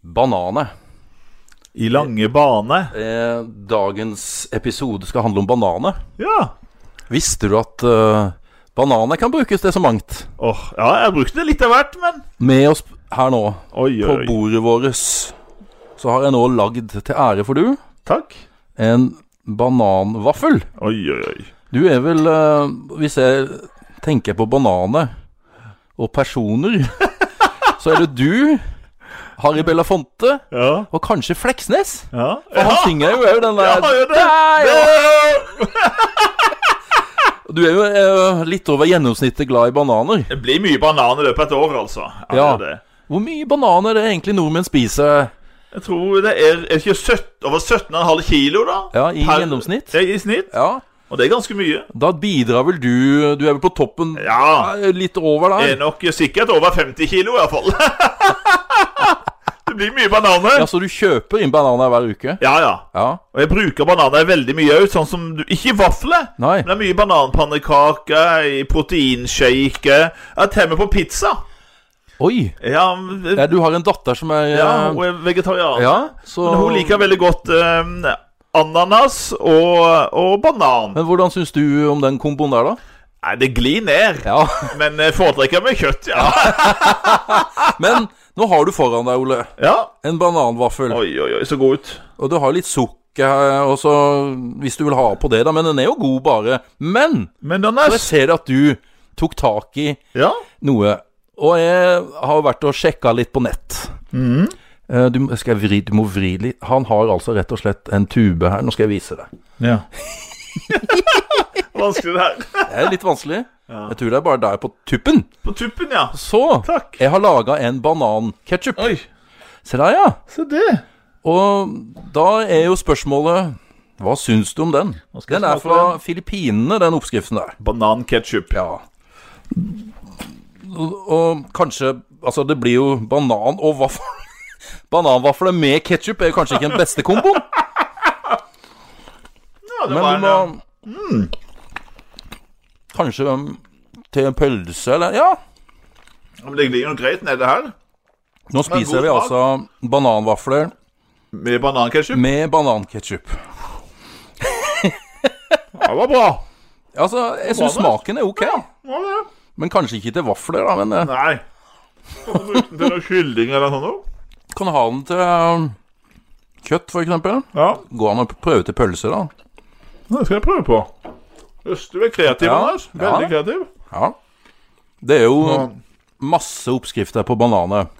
banane. I lange bane. Eh, dagens episode skal handle om banane. Ja. Visste du at eh, bananer kan brukes til så mangt? Åh, ja, jeg brukte det litt av hvert, men Med oss her nå, Oi, på oi, oi. bordet vårt, så har jeg nå lagd til ære for du Takk. en bananvaffel. Oi, oi, oi. Du er vel, eh, hvis jeg tenker på bananer og personer, så er det du, Harry Belafonte Ja. og kanskje Fleksnes. Ja. Og han synger jo òg den der Ja, gjør det. Der, ja. Du er jo eh, litt over gjennomsnittet glad i bananer. Det blir mye banan i løpet av et år, altså. Ja. det er det. Hvor mye bananer er det egentlig nordmenn spiser? Jeg tror det er, er det ikke 17, over 17,5 kilo, da. Ja, i gjennomsnitt. Ja, I snitt. Ja, Og det er ganske mye. Da bidrar vel du Du er vel på toppen Ja. eh, litt over Det er der? nok sikkert over 50 kilo, i hvert fall. det blir mye bananer. Ja, Så du kjøper inn bananer hver uke? Ja, ja. Ja. Og jeg bruker bananer veldig mye òg, sånn som du Ikke i vafler, Nei. men det er mye bananpannekaker, i proteinshake Ja, til og med på pizza. Oi! Ja, Ja, du har en datter som er eh, ja hun er vegetarianer. ja, så Men hun liker veldig godt eh, ananas og, og banan. Men hvordan syns du om den komboen der, da? Nei, det glir ned. Ja, Men jeg foretrekker med kjøtt, ja. Men nå har du foran deg, Ole, ja. en bananvaffel. Oi, oi, oi, så god ut. Og du har litt sukker her, og så Hvis du vil ha på det, da. Men den er jo god, bare. Men Men den og er jeg ser at du tok tak i Ja. noe. Og jeg har vært og sjekka litt på nett. Mm. Eh, Du, skal jeg vri, du må vri litt Han har altså rett og slett en tube her. Nå skal jeg vise deg. ja. Vanskelig, det her. Det er litt vanskelig. Jeg tror det er bare der på tuppen. På tuppen, ja. Så Takk. jeg har laga en bananketchup. Oi, Se der, ja. se det. Og da er jo spørsmålet Hva syns du om den? skal jeg Den er smake fra på Filippinene, den oppskriften der. Bananketchup. Ja. Og, og kanskje Altså, det blir jo banan og vaffel. Bananvafler med ketsjup er jo kanskje ikke den beste komboen, Ja, det men du var en, må Mm. ja. Kanskje um, til en pølse, eller Ja. Ja, Men eh, det glir jo greit nede her. Nå god spiser vi smak. altså bananvafler Med bananketchup. med bananketsjup. Ja, det var bra. Altså, jeg syns det? smaken er ok, Ja, det. men kanskje ikke til vafler, da. Men eh, Nei. Kan du bruke den til noe kylling eller noe sånt? kan ha den til um, kjøtt, for eksempel. Ja, Går an å prøve til pølse, da. det skal jeg prøve på. Jøss, du er kreativ, Ja, Anders. Veldig ja. kreativ. Ja. Det er jo Ja. masse oppskrifter på bananer.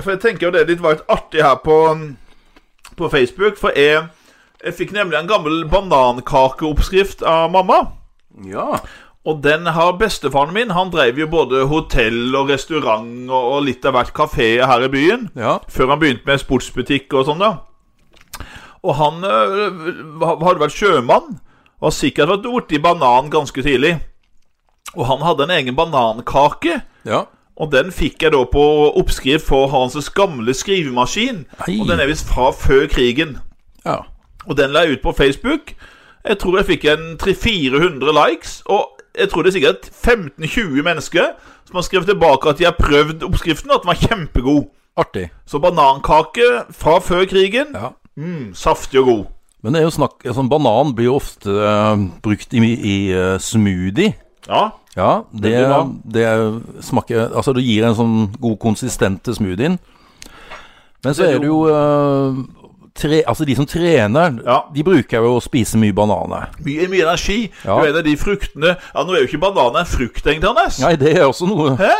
For jeg tenker jo det er litt var litt artig her på, um, på Facebook, for jeg, jeg fikk nemlig en gammel banankakeoppskrift av mamma. Ja. Og den har bestefaren min. Han drev jo både hotell og restaurant og, og litt av hvert kafé her i byen. Ja, Før han begynte med sportsbutikk og sånn, da. Og han øh, ha- hadde vært sjømann, og har sikkert vært borti banan ganske tidlig. Og han hadde en egen banankake, ja. og den fikk jeg da på oppskrift for hans gamle skrivemaskin. Ei. Og den er visst fra før krigen. ja. Og den la jeg ut på Facebook. Jeg tror jeg fikk en 300-400 likes. Og jeg tror det er sikkert 15-20 mennesker som har skrevet tilbake at de har prøvd oppskriften, og at den var kjempegod. Artig. Så banankake fra før krigen. Ja. Mm, saftig og god. Men det er jo snakk altså, Banan blir jo ofte eh, brukt i, i eh, smoothie. Ja. Ja, det, blir bra. det smaker Altså, det gir en sånn god konsistent til smoothien. Men så Det er er det jo eh, tre, Altså, de som trener, Ja. de bruker jo å spise mye bananer. Mye, mye energi. Ja. Du er en av de fruktene Ja, Nå er jo ikke banan en frukt, egentlig, Anders. Nei, det er også noe Hæ?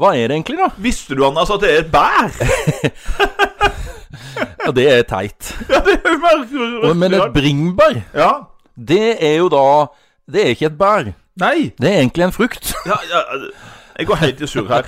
Hva er det egentlig, da? Visste du, Anders, at det er et bær? Ja, det er teit. Ja, det er jo merkelig. Men et bringebær, Ja. det er jo da Det er ikke et bær. Nei. Det er egentlig en frukt. Ja, ja, jeg går helt i surr her.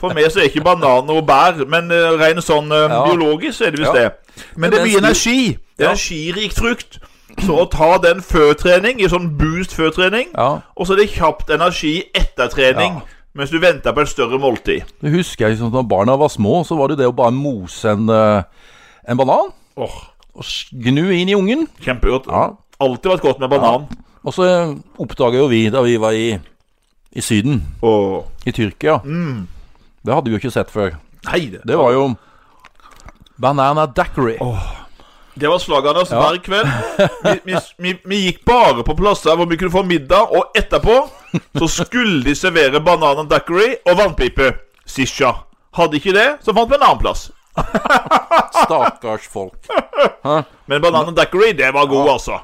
For meg så er ikke banan og bær, men uh, rent sånn eh, Ja. biologisk så er det visst Ja. det. Men det er mye Mens energi. Det er Ja. energirikt frukt. Så å ta den før trening, i sånn boost før trening, Ja. og så er det kjapt energi etter trening. Ja. Mens du venter på et større måltid. Det husker jeg liksom, da barna var små, så var det det å bare mose en, eh, en banan. Åh, Og s- gnu inn i ungen. Kjempegodt. Ja. Alltid vært godt med banan. Og så eh, oppdaga jo vi, da vi var i, i Syden, Mm. Åh, i Tyrkia Det hadde vi jo ikke sett før. Nei, det Det var jo Banana daiquiri. Det var slaget hans Ja. hver kveld. Vi, vi, vi, vi gikk bare på plasser hvor vi kunne få middag, og etterpå så skulle de servere banan og daiquiri og vannpipe. Sisha. Hadde ikke det, så fant vi en annen plass. Stakkars folk. Men banan og daiquiri, det var god, altså.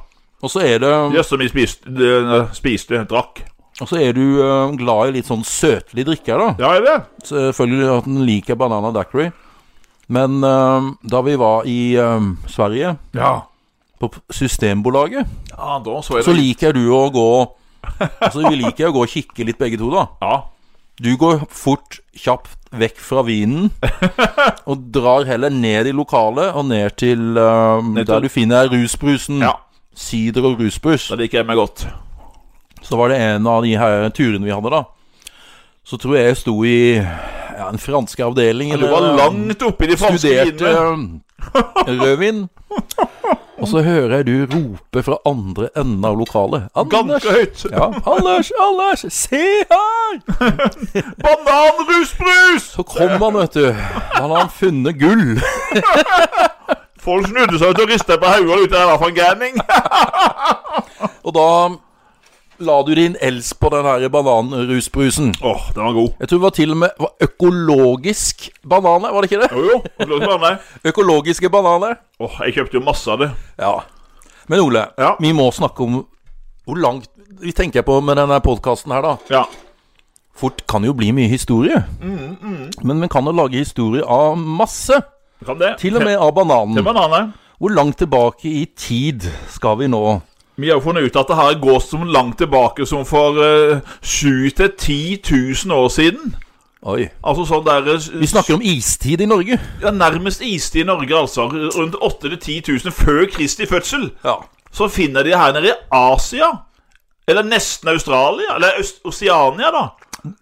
Og så er det Jøss, som vi spiste, de, spiste drakk. Og så er du eh, glad i litt sånn søtlig drikke, da. Ja, er det? Selvfølgelig eh, at en liker banana daiquiri. Men eh, da vi var i eh, Sverige, Ja. på p- Systembolaget, ja da så er så det liker du å gå Altså, vi liker å gå og kikke litt, begge to, da. Ja. Du går fort, kjapt vekk fra vinen, og drar heller ned i lokalet og ned til eh, til- der du finner rusbrusen. ja. Sider og rusbrus. Da liker jeg meg godt. Så var det en av de her turene vi hadde da Så tror jeg jeg sto i ja, en fransk avdeling Du var eller, eh, um, langt oppe i de franske Studerte vinene. eh, rødvin Og så hører jeg du rope fra andre enden av lokalet Anders Ganske høyt. ja, Anders, Anders, se her Bananrusbrus! Så kom han, vet du Han hadde funnet gull Folk snudde seg ut og rista på hodet ute der, hva for en gærning? Og da la du din els på den her bananrusbrusen Åh, den var god. Jeg tror det var til og med var økologisk bananer, var det ikke det? Jo, jo. det lå ikke bare meg. Økologiske bananer Åh, jeg kjøpte jo masse av det. Ja. Men Ole, Ja. vi må snakke om hvor langt Vi tenker på med denne podkasten her, da. Ja. Fort kan jo bli mye historie. Men vi kan jo lage historie av masse. Kan det. Til og med av Til bananen. bananer. Hvor langt tilbake i tid skal vi nå? Vi har jo funnet ut at det her går så langt tilbake som for eh, 7000 til 10 000 år siden. Oi. Altså sånn der eh, Vi snakker om istid i Norge. ja, Nærmest istid i Norge, altså. Rundt 8000 til 10 000 før Kristi fødsel. Ja. Så finner de her nede i Asia. Eller nesten Australia. Eller Øst Oceania, da.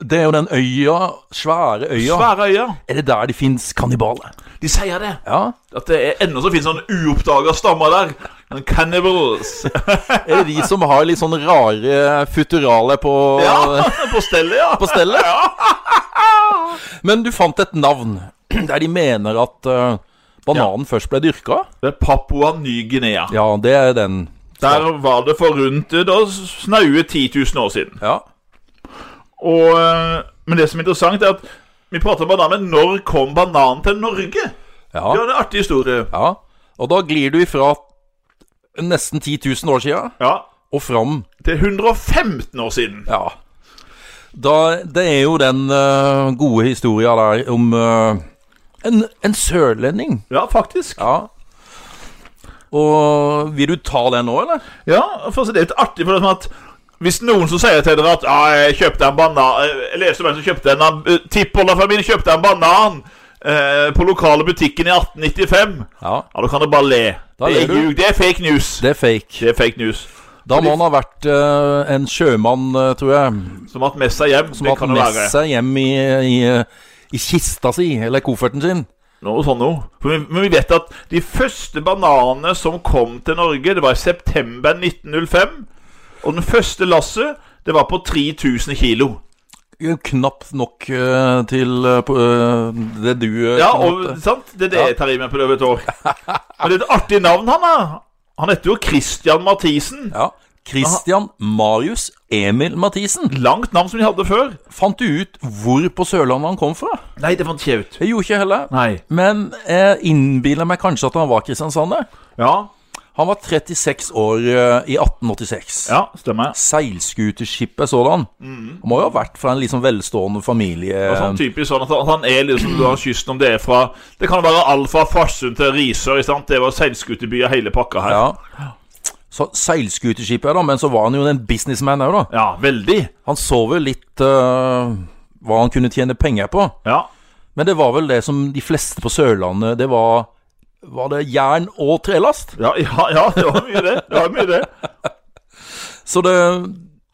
Det er jo den øya, svære øya. Svære øyer. Er det der det fins kannibaler? De sier det. Ja. At det er ennå så finnes sånne uoppdaga stammer der. Men Cannibals. Er det de som har litt sånn rare futuraler på, Ja, på stellet, ja. på stellet? Men du fant et navn der de mener at eh, bananen først ble dyrka. Det er Papua Ny-Guinea. Ja, det er den. Der var det for rundt eh, da, snaue 10 000 år siden. Ja. Og, eh, men det som er interessant, er at vi prater om banan, men når kom bananen til Norge? Det Ja. var en artig historie. ja. Og da glir du ifra nesten 10 000 år sia Ja, og fram. Til 115 år siden. Ja. Da, det er jo den eh, gode historia der om eh, en, en sørlending. Ja, faktisk. Ja. Og vil du ta den nå, eller? Ja, for så Det er litt artig. for det er sånn at hvis noen som sier til dere at ja, 'Jeg kjøpte en banan Jeg leste om en som kjøpte en eh, tippoldefamilien kjøpte en banan eh, på lokale butikken i 1895 Ja. Ja, da kan du bare le. Da det, ler er du. ljug. det er fake news. Det, Det er fake. er fake news. Da må han ha vært eh, en sjømann, eh, tror jeg. Som har hatt med seg hjem. Som det har kan hatt det med være. seg hjem i, i, eh, i kista si, eller kofferten sin. Noe sånn noe. For vi- Men vi vet at de første bananene som kom til Norge, det var i september 1905. Og den første lasset, det var på 3000 kilo. Knapt nok eh, til eh, på, eh, det du eh, Ja, kan og hente. sant? Det er det Ja. jeg tar i meg på det over et år. Men det er et artig navn han har. Han heter jo Christian Mathisen. ja. Christian Marius Emil Mathisen. Langt navn som de hadde før. Fant du ut hvor på Sørlandet han kom fra? Nei, det fant ikke jeg ut. Det gjorde ikke jeg heller. Nei. Men jeg innbiller meg kanskje at han var kristiansander. Ja, Han var 36 år eh, i 1886. ja stemmer. Seilskuteskipet sådan. Han må jo ha vært fra en liksom velstående familie. Og sånn typisk sånn at han- han er liksom du har kysten om det er fra Det kan være alt fra Farsund til Risør. ikke sant? Det var seilskutebyer, hele pakka her. Ja, Ja. Så seilskuteskipet, da, men så var han jo en businessman òg, da. veldig. Han så vel litt øh, hva han kunne tjene penger på. Ja. Men det var vel det som de fleste på Sørlandet Det var Var det jern og trelast? Ja, ja, ja, det var mye det. Det var mye det. Så det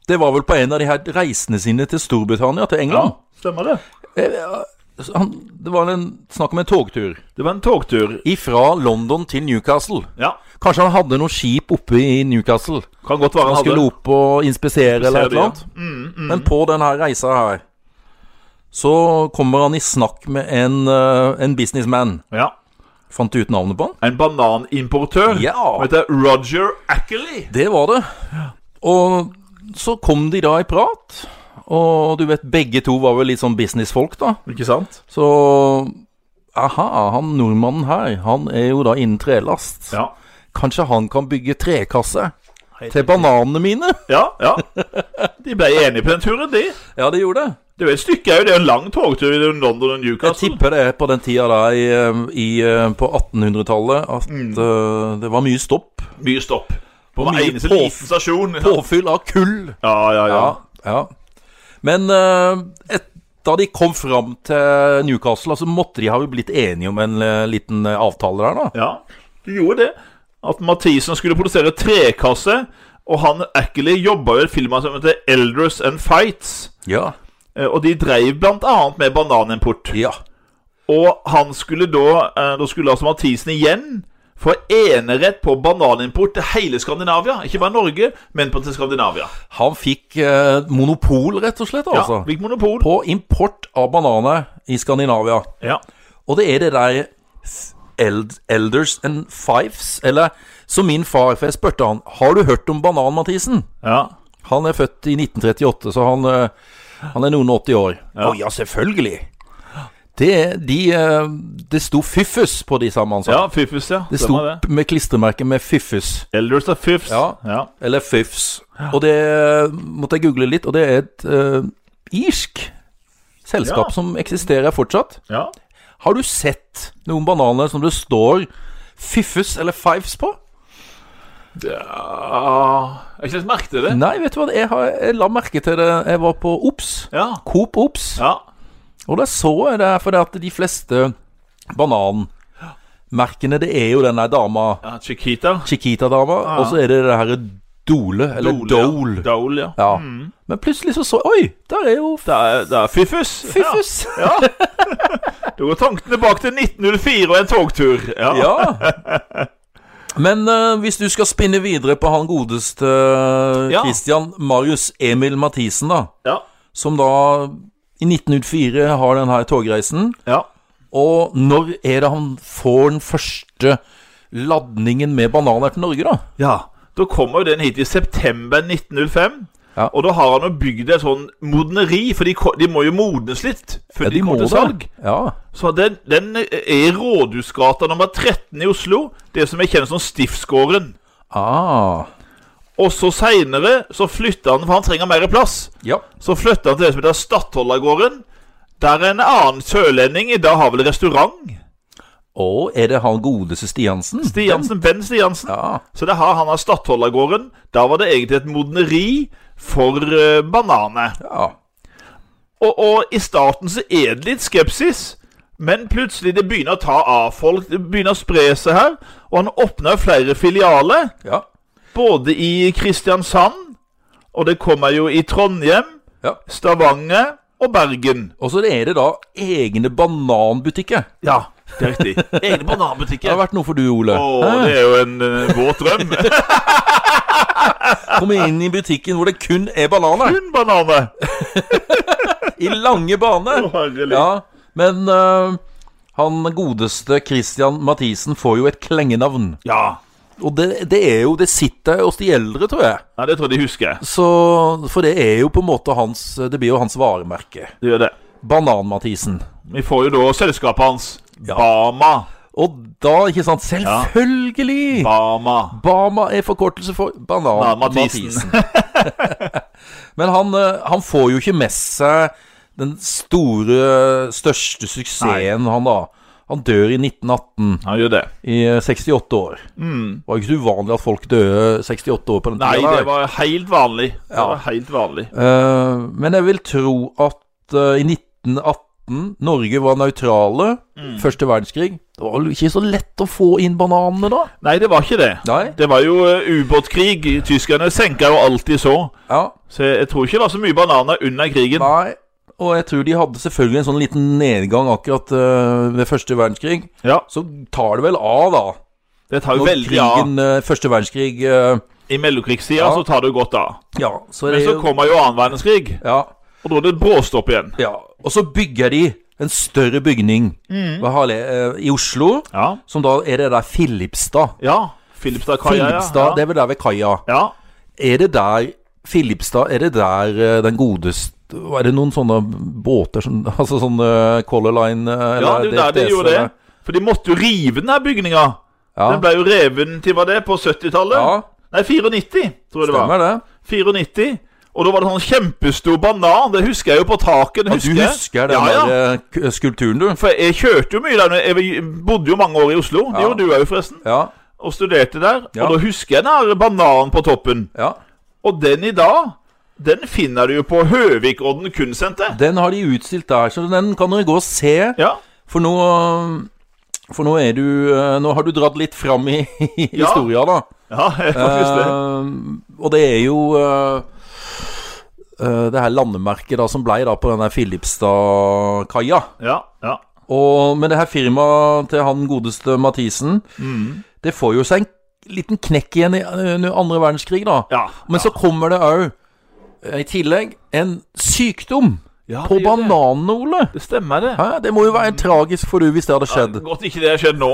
det var vel på en av de her reisene sine til Storbritannia, til Ja, England. stemmer det. Eh, så Han, det var en snakk om en togtur. Det var en togtur. Ifra London til Newcastle. Ja, Kanskje han hadde noe skip oppe i Newcastle. kan godt være Han han skulle hadde. opp og inspisere eller Ser et det, ja. eller annet. Men på denne reisa her så kommer han i snakk med en, eh, en businessman. Ja. Fant du ut navnet på han? En bananimportør. Ja. Han heter Roger Ackley. Det var det. Og så kom de da i prat. Og du vet, begge to var vel litt sånn businessfolk, da. Ikke sant? Så aha, han nordmannen her, han er jo da innen trelast. Ja. Kanskje han kan bygge trekasse til bananene mine? Ja, ja. De ble enige på den turen, de. Ja, det gjorde det. Altså- Det er jo et stykke òg. Det er jo en lang togtur i London Jeg og Newcastle. tipper det er på den tida da i, eh, i, på 1800-tallet at eh, det var mye stopp. Mye stopp. På hver mye eneste påf- liten stasjon. Påfyll av kull. Ja, ja, ja. Ja, ja. Men eh, et, da de kom fram til Newcastle, så måtte de ha jo blitt enige om en eh, liten eh, avtale der, da. Ja, du gjorde det. At Mathisen skulle produsere trekasse, og han Ackley jobba i et firma som heter Eldress and Fights. Ja. Eh, Og de dreiv bl.a. med bananimport. ja. Og han skulle da eh, Da skulle altså Mathisen igjen få enerett på bananimport til hele Skandinavia. Ikke bare Norge, men på til Skandinavia. Han fikk eh, monopol, rett og slett, Ja, altså. Hvilket monopol. På import av bananer i Skandinavia. Ja. Og det er det der eld, Elders and Fives, eller som min far, for jeg spurte han Har du hørt om banan, Mathisen? ja. Han er født i 1938, så han, eh, han er noen og 80 år. Å ja, selvfølgelig! Det, de, eh, det sto Fyffus på de sammen, han sa. ja Fyfus, ja. det sto Stemmer det. med klistremerke med Fyffus, Elders of Fyfs. Ja. ja. eller Fyfs. Og det eh, måtte jeg google litt, og det er et eh, irsk selskap Ja. som eksisterer fortsatt. ja. Har du sett noen bananer som det står Fyffus eller Fives på? Ah, Jeg har ikke helt merket det. Nei, vet du hva, jeg, har, jeg la merke til det. Jeg var på Ops. Ja. Coop Ops. ja. Og der så jeg det, for det at de fleste bananmerkene, det er jo den der dama, ja Chiquita. Chiquita-dama, og så er det det herre Dole, eller Dole. Ja. Dole, ja. Ja. Men plutselig så så Oi, der er jo Det er, det er Fyfus. Fyffus! Ja. Ja. Da går tankene bak til 1904 og en togtur. Ja. Men eh, hvis du skal spinne videre på han godeste eh, Ja. Christian Marius Emil Mathisen, da, Ja. som da i 1904 har den her togreisen, ja. Og når er det han får den første ladningen med bananer til Norge, da? Ja, Da kommer jo den hit i september 1905. Ja. Og da har han jo bygd et sånn modneri, for de, ko- de må jo modnes litt før de, kommer til salg. Ja. Så den, den eh, er i Rådhusgata nummer 13 i Oslo, det som er kjent som Stiftsgården. Ah. Og så seinere så flytter han, for han trenger mer plass. Ja. Så flytter han til det som heter Stadholdergården. Der er en annen sørlending i dag har vel restaurant. Og er det han godeste Stiansen? Stiansen, Ben Stiansen. Ja. Så det har han av Stadholdergården. Da var det egentlig et modneri for eh, bananer. ja. Og, og i starten så er det litt skepsis, men plutselig det begynner å ta av folk. Det begynner å spre seg her. Og han åpner flere filialer, Ja. både i Kristiansand, og det kommer jo i Trondheim, ja. Stavanger og Bergen. Og så er det da egne bananbutikker. Ja, det er riktig. Egne Det har bananbutikker. vært noe for du, Ole. Å, Hæ? det er jo en eh, våt drøm. Komme inn i butikken hvor det kun er bananer. Kun bananer. I lange baner. Å, herlig. Ja. Men eh, han godeste Christian Mathisen får jo et klengenavn. Ja. Og det, det er jo Det sitter hos de eldre, tror jeg. ja, det tror jeg de husker. Så, for det er jo på en måte hans Det blir jo hans varemerke. Det gjør det. Banan-Mathisen. Vi får jo da selskapet hans. Ja. Bama. Og da, ikke sant Selvfølgelig! Bama. Bama er forkortelse for Banan Mathisen. Banan-Mathisen. Men han, eh, han får jo ikke med seg den store, største suksessen, han da. Han dør i 1918, Han gjør det. Mm. i eh, 68 år. Det var jo ikke så uvanlig at folk døde 68 år på den Nei, tiden der. det var helt vanlig. Det Ja. var helt vanlig. Eh, men jeg vil tro at eh, i 1918 Norge var nøytrale. Mm. Første verdenskrig. Det var vel ikke så lett å få inn bananene da? Nei, det var ikke det. Nei. Det var jo eh, ubåtkrig. Tyskerne senka jo alltid så. Ja. Så jeg jeg tror ikke det var så mye bananer under krigen. Nei. Og jeg tror de hadde selvfølgelig en sånn liten nedgang akkurat eh, ved første verdenskrig. Ja, Så tar det vel av, da. Det tar jo Når veldig av. krigen, eh, første verdenskrig eh, I mellomkrigstida Ja. så tar det jo godt av. Ja, så er Men det så jo kommer jo annen verdenskrig, ja, og da er det bråstopp igjen. ja. Og så bygger de en større bygning Mm. ved Harle, eh, i Oslo, Ja. som da er det der Filipstad. ja. Filipstad-kaia, ja. Filipstad, det er vel der ved kaia. ja. Er det der Filipstad, er det der eh, den godeste Er det noen sånne båter som Altså sånne eh, Color Line eh, ja, det er eller jo der de DTS, gjorde det. eller- For de måtte jo rive den her bygninga. Ja. Den ble jo reven til hva det, på 70-tallet? Ja. Nei, 94, tror jeg det var. Stemmer det? 94. Og da var det sånn kjempestor banan. Det husker jeg jo på taket. det Ja, Husker du jeg. husker den ja, ja. der eh, k- skulpturen, du? For jeg kjørte jo mye der. når jeg- Jeg bodde jo mange år i Oslo. Det Ja. gjorde du òg, forresten. Ja. Og studerte der. Ja. Og da husker jeg den her bananen på toppen. ja. Og den i dag, den finner du jo på Høvikodden kunstsenter. Den har de utstilt der, så den kan dere gå og se. Ja. For nå For nå er du eh, Nå har du dratt litt fram i, i Ja. historia, da. ja, faktisk det. Eh, og det er jo eh, eh, det her landemerket da som blei da på den der Filipstad-kaia. Ja, ja. Og med det her firmaet til han godeste Mathisen, Mm. det får jo seg en liten knekk igjen i eh, under andre verdenskrig, da. Ja, Men så kommer det òg, i tillegg, en sykdom Ja, på det gjør det. bananene, Ole. Det stemmer, det. Hæ? Det må jo være tragisk for du hvis det hadde skjedd. Godt ikke det har skjedd nå.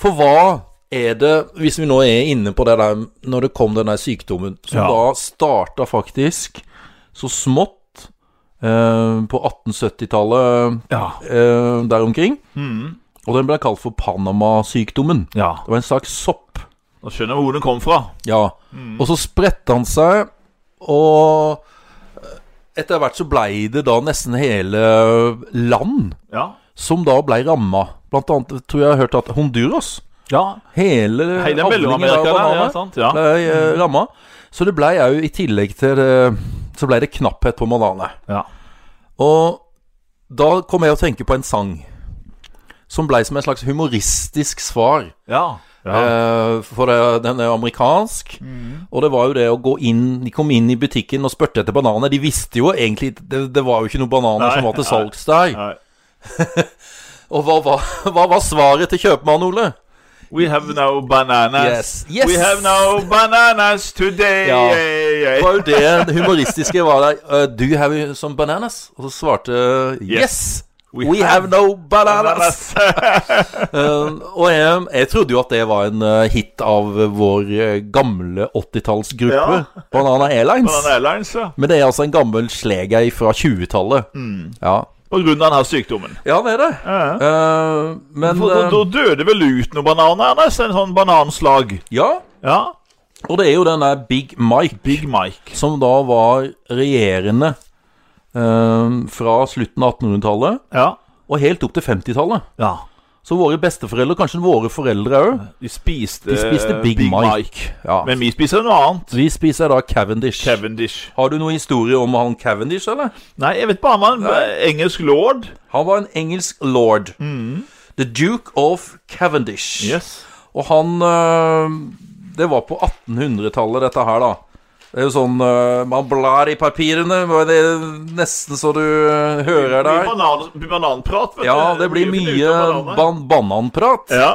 For hva er det, hvis vi nå er inne på det der når det kom den der sykdommen, som Ja. da starta faktisk så smått eh, på 1870-tallet ja. eh, der omkring, og den ble kalt for Panama-sykdommen. Mm, ja. Det var en slags sopp, Nå skjønner jeg hvor den kom fra. ja. Mm. Og så spredte han seg, og etter hvert så blei det da nesten hele land Ja. som da blei ramma. Blant annet tror jeg jeg har hørt at Honduras Ja. Hele Hei, det er avlingen av Mellom-Amerika der, bananer ja, sant? Ja. ble Mm. eh, ramma. Så det blei òg, i tillegg til det, Så blei det knapphet på bananer. ja. Og da kom jeg å tenke på en sang som blei som en slags humoristisk svar. Ja. ja. Mm. Eh, for det, den er amerikansk, og det var jo det å gå inn De kom inn i butikken og spurte etter bananer. De visste jo egentlig Det, det var jo ikke noen bananer Nei, som var til nei, salgs der. nei. Og hva, var- hva var svaret til kjøpmannen, Ole? We have no bananas. Yes. Yes. We have no bananas today. Ja. Yeah, Det yeah. var jo det det humoristiske var der. Uh, do you have some bananas? Og så svarte uh, yes. We, have, no bananas. Bananas. Uh, og jeg, jeg trodde jo at det var en uh, hit av uh, vår uh, gamle 80-tallsgruppe, Ja. Banana Airlines. Banana Airlines, ja. Men det er altså en gammel sleger fra 20-tallet. Ja. På grunn av denne sykdommen. ja, det er det. Mm. Ja. Uh, men For da, uh, da døde vel ut noen bananer, Ernest? En sånn bananslag. Ja. Ja. Og det er jo den der Big Mike, Big Mike. som da var regjerende uh, fra slutten av 1800-tallet Ja. og helt opp til 50-tallet. ja. Så våre besteforeldre, kanskje våre foreldre òg De spiste, De spiste eh, Big Mike. ja. Men vi spiser noe annet. Vi spiser da Cavendish. Cavendish. Har du noen historie om han Cavendish, eller? Nei, jeg vet bare om han var engelsk lord. Han var en engelsk lord. Mm. The Duke of Cavendish. Og han øh, Det var på 1800-tallet, dette her, da. Det er jo sånn øh, Man blar i papirene, men det er nesten så du øh, hører Mye der. banan, mye bananprat, vet Ja, det blir mye ban bananprat. Ja.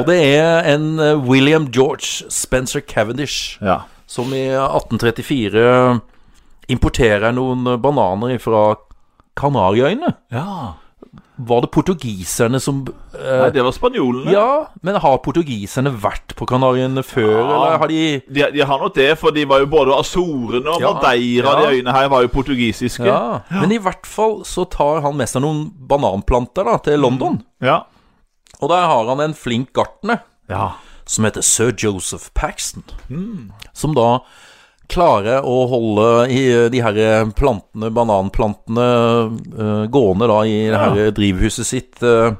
Og det er en øh, William George Spencer Cavendish. ja. Som i 1834 importerer noen bananer fra Kanariøyene. Var det portugiserne som eh, Nei, det var spanjolene. Ja, men har portugiserne vært på Kanariøyene før, Ja. eller har de De, de har nok det, for de var jo både Azorene og Ja, Madeira. ja. De øyene her var jo portugisiske. ja. Men i hvert fall så tar han med seg noen bananplanter da, til London. Ja. Og der har han en flink gartner ja. som heter sir Joseph Paxton. Som da klarer å holde i eh, de her plantene, bananplantene, eh, gående da i det her drivhuset sitt eh,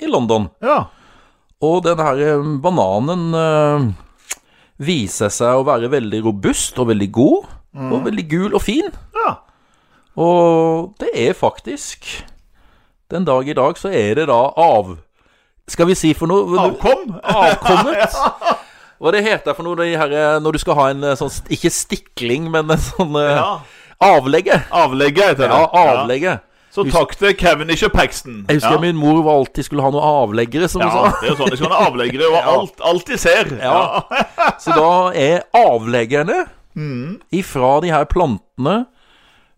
i London. ja. Og den her eh, bananen eh, viser seg å være veldig robust og veldig god. Og veldig gul og fin. ja. Og det er faktisk Den dag i dag så er det da av Skal vi si for noe Avkom? avkommet. Hva det heter for noe de her, når du skal ha en eh, sånn st- Ikke stikling, men en sånn eh, Ja. avlegge. Avlegge heter det. Ja, avlegge. Så takk til Cavendish og Paxton. Jeg husker ja. min mor var alltid skulle ha noen avleggere, som Ja, hun sa. det er jo sånn de skal ha avleggere, og alt, alt de ser. Ja. Mm. Så da er avleggerne ifra de her plantene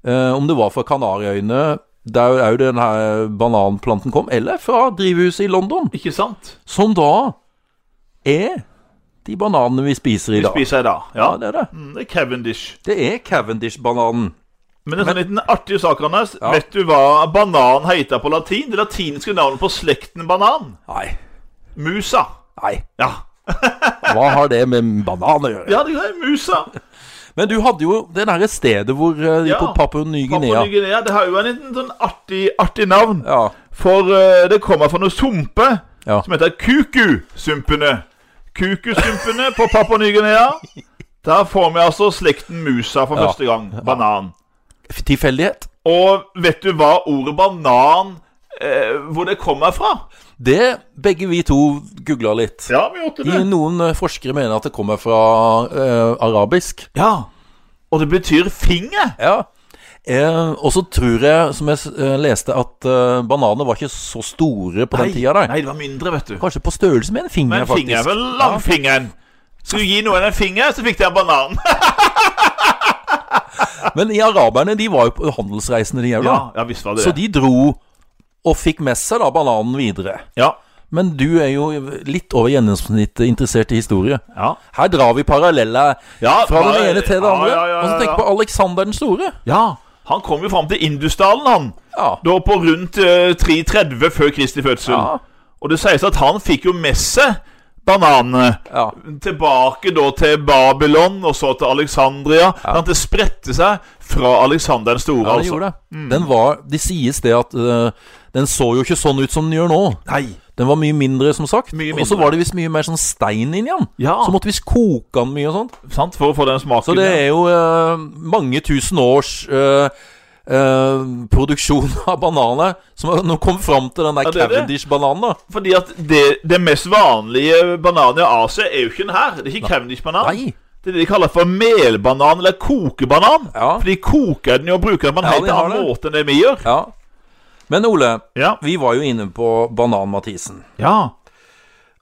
eh, om det var fra Kanariøyene, der òg denne bananplanten kom, eller fra drivhuset i London, Ikke sant? som da er de bananene vi spiser i Vi dag. spiser i dag. Ja, Ja, det er det. Mm, det er Cavendish. Det er Cavendish-bananen. Men en sånn liten artig sak, Anders. Ja. Vet du hva banan heter på latin? Det latinske navnet på slekten banan? Nei, Musa. nei. Ja, Hva har det med banan å gjøre? ja det er musa. Men du hadde jo det derre stedet hvor eh, Ja. På Papua Papua Ny-Guinea. Ny-Guinea. Det har jo en liten sånn artig, artig navn. Ja. For eh, det kommer fra noen sumper Ja. som heter kukusumpene. Kukusumpene på Papua Ny-Guinea. Der får vi altså slekten musa for Ja. første gang. Banan. Tilfeldighet? Og vet du hva ordet banan eh, Hvor det kommer fra? Det begge vi to googla litt. Ja, vi gjorde I noen eh, forskere mener at det kommer fra eh, arabisk. Ja. Og det betyr finger. Ja. Eh, og så tror jeg, som jeg s- eh, leste, at eh, bananer var ikke så store på den tida. Der. nei, det var mindre, vet du. Kanskje på størrelse med en finger, Men faktisk. finger er vel langfingeren. Skulle du gi noen en finger, så fikk de en banan. Ja. Men i araberne de var jo på handelsreisende, de òg. Ja, da. ja visst var det Så det. de dro og fikk med seg da bananen videre. Ja. Men du er jo litt over gjennomsnittet interessert i historie. Ja. Her drar vi paralleller ja fra den bare- ene til den ja, andre. Ja, ja, Og så ja, tenk ja. på Alexander den store. Ja, han kom jo fram til Indusdalen, han. Ja. Da på rundt eh, 330 før Kristi fødsel. Ja. Og det sies at han fikk jo med seg bananene. ja. Tilbake da til Babylon, og så til Alexandria. Sant? Det spredte seg fra Alexander den Ja, store, det altså. gjorde det. Den var Det sies det at eh, den så jo ikke sånn ut som den gjør nå. Nei. Den var mye mindre, som sagt. Mye Og så mindre. Ah. var det visst mye mer sånn stein inni den. Ja, Så måtte vi koke den mye og sånt. sant, for å få den smaken. Så det ja. er jo eh, mange tusen års eh, eh, produksjon av bananer som har- nå kom fram til den der Ja, det er det. Cavendish-bananen, da. Fordi at det, det mest vanlige bananen i Asia er jo ikke den her. Det er ikke Cavendish-banan. Nei. Det er det de kaller for melbanan, eller kokebanan. Ja. For de koker den jo og bruker den på Ja, en de helt har annen det. måte enn det vi gjør. Ja. Men Ole, Ja. vi var jo inne på Banan-Mathisen. ja.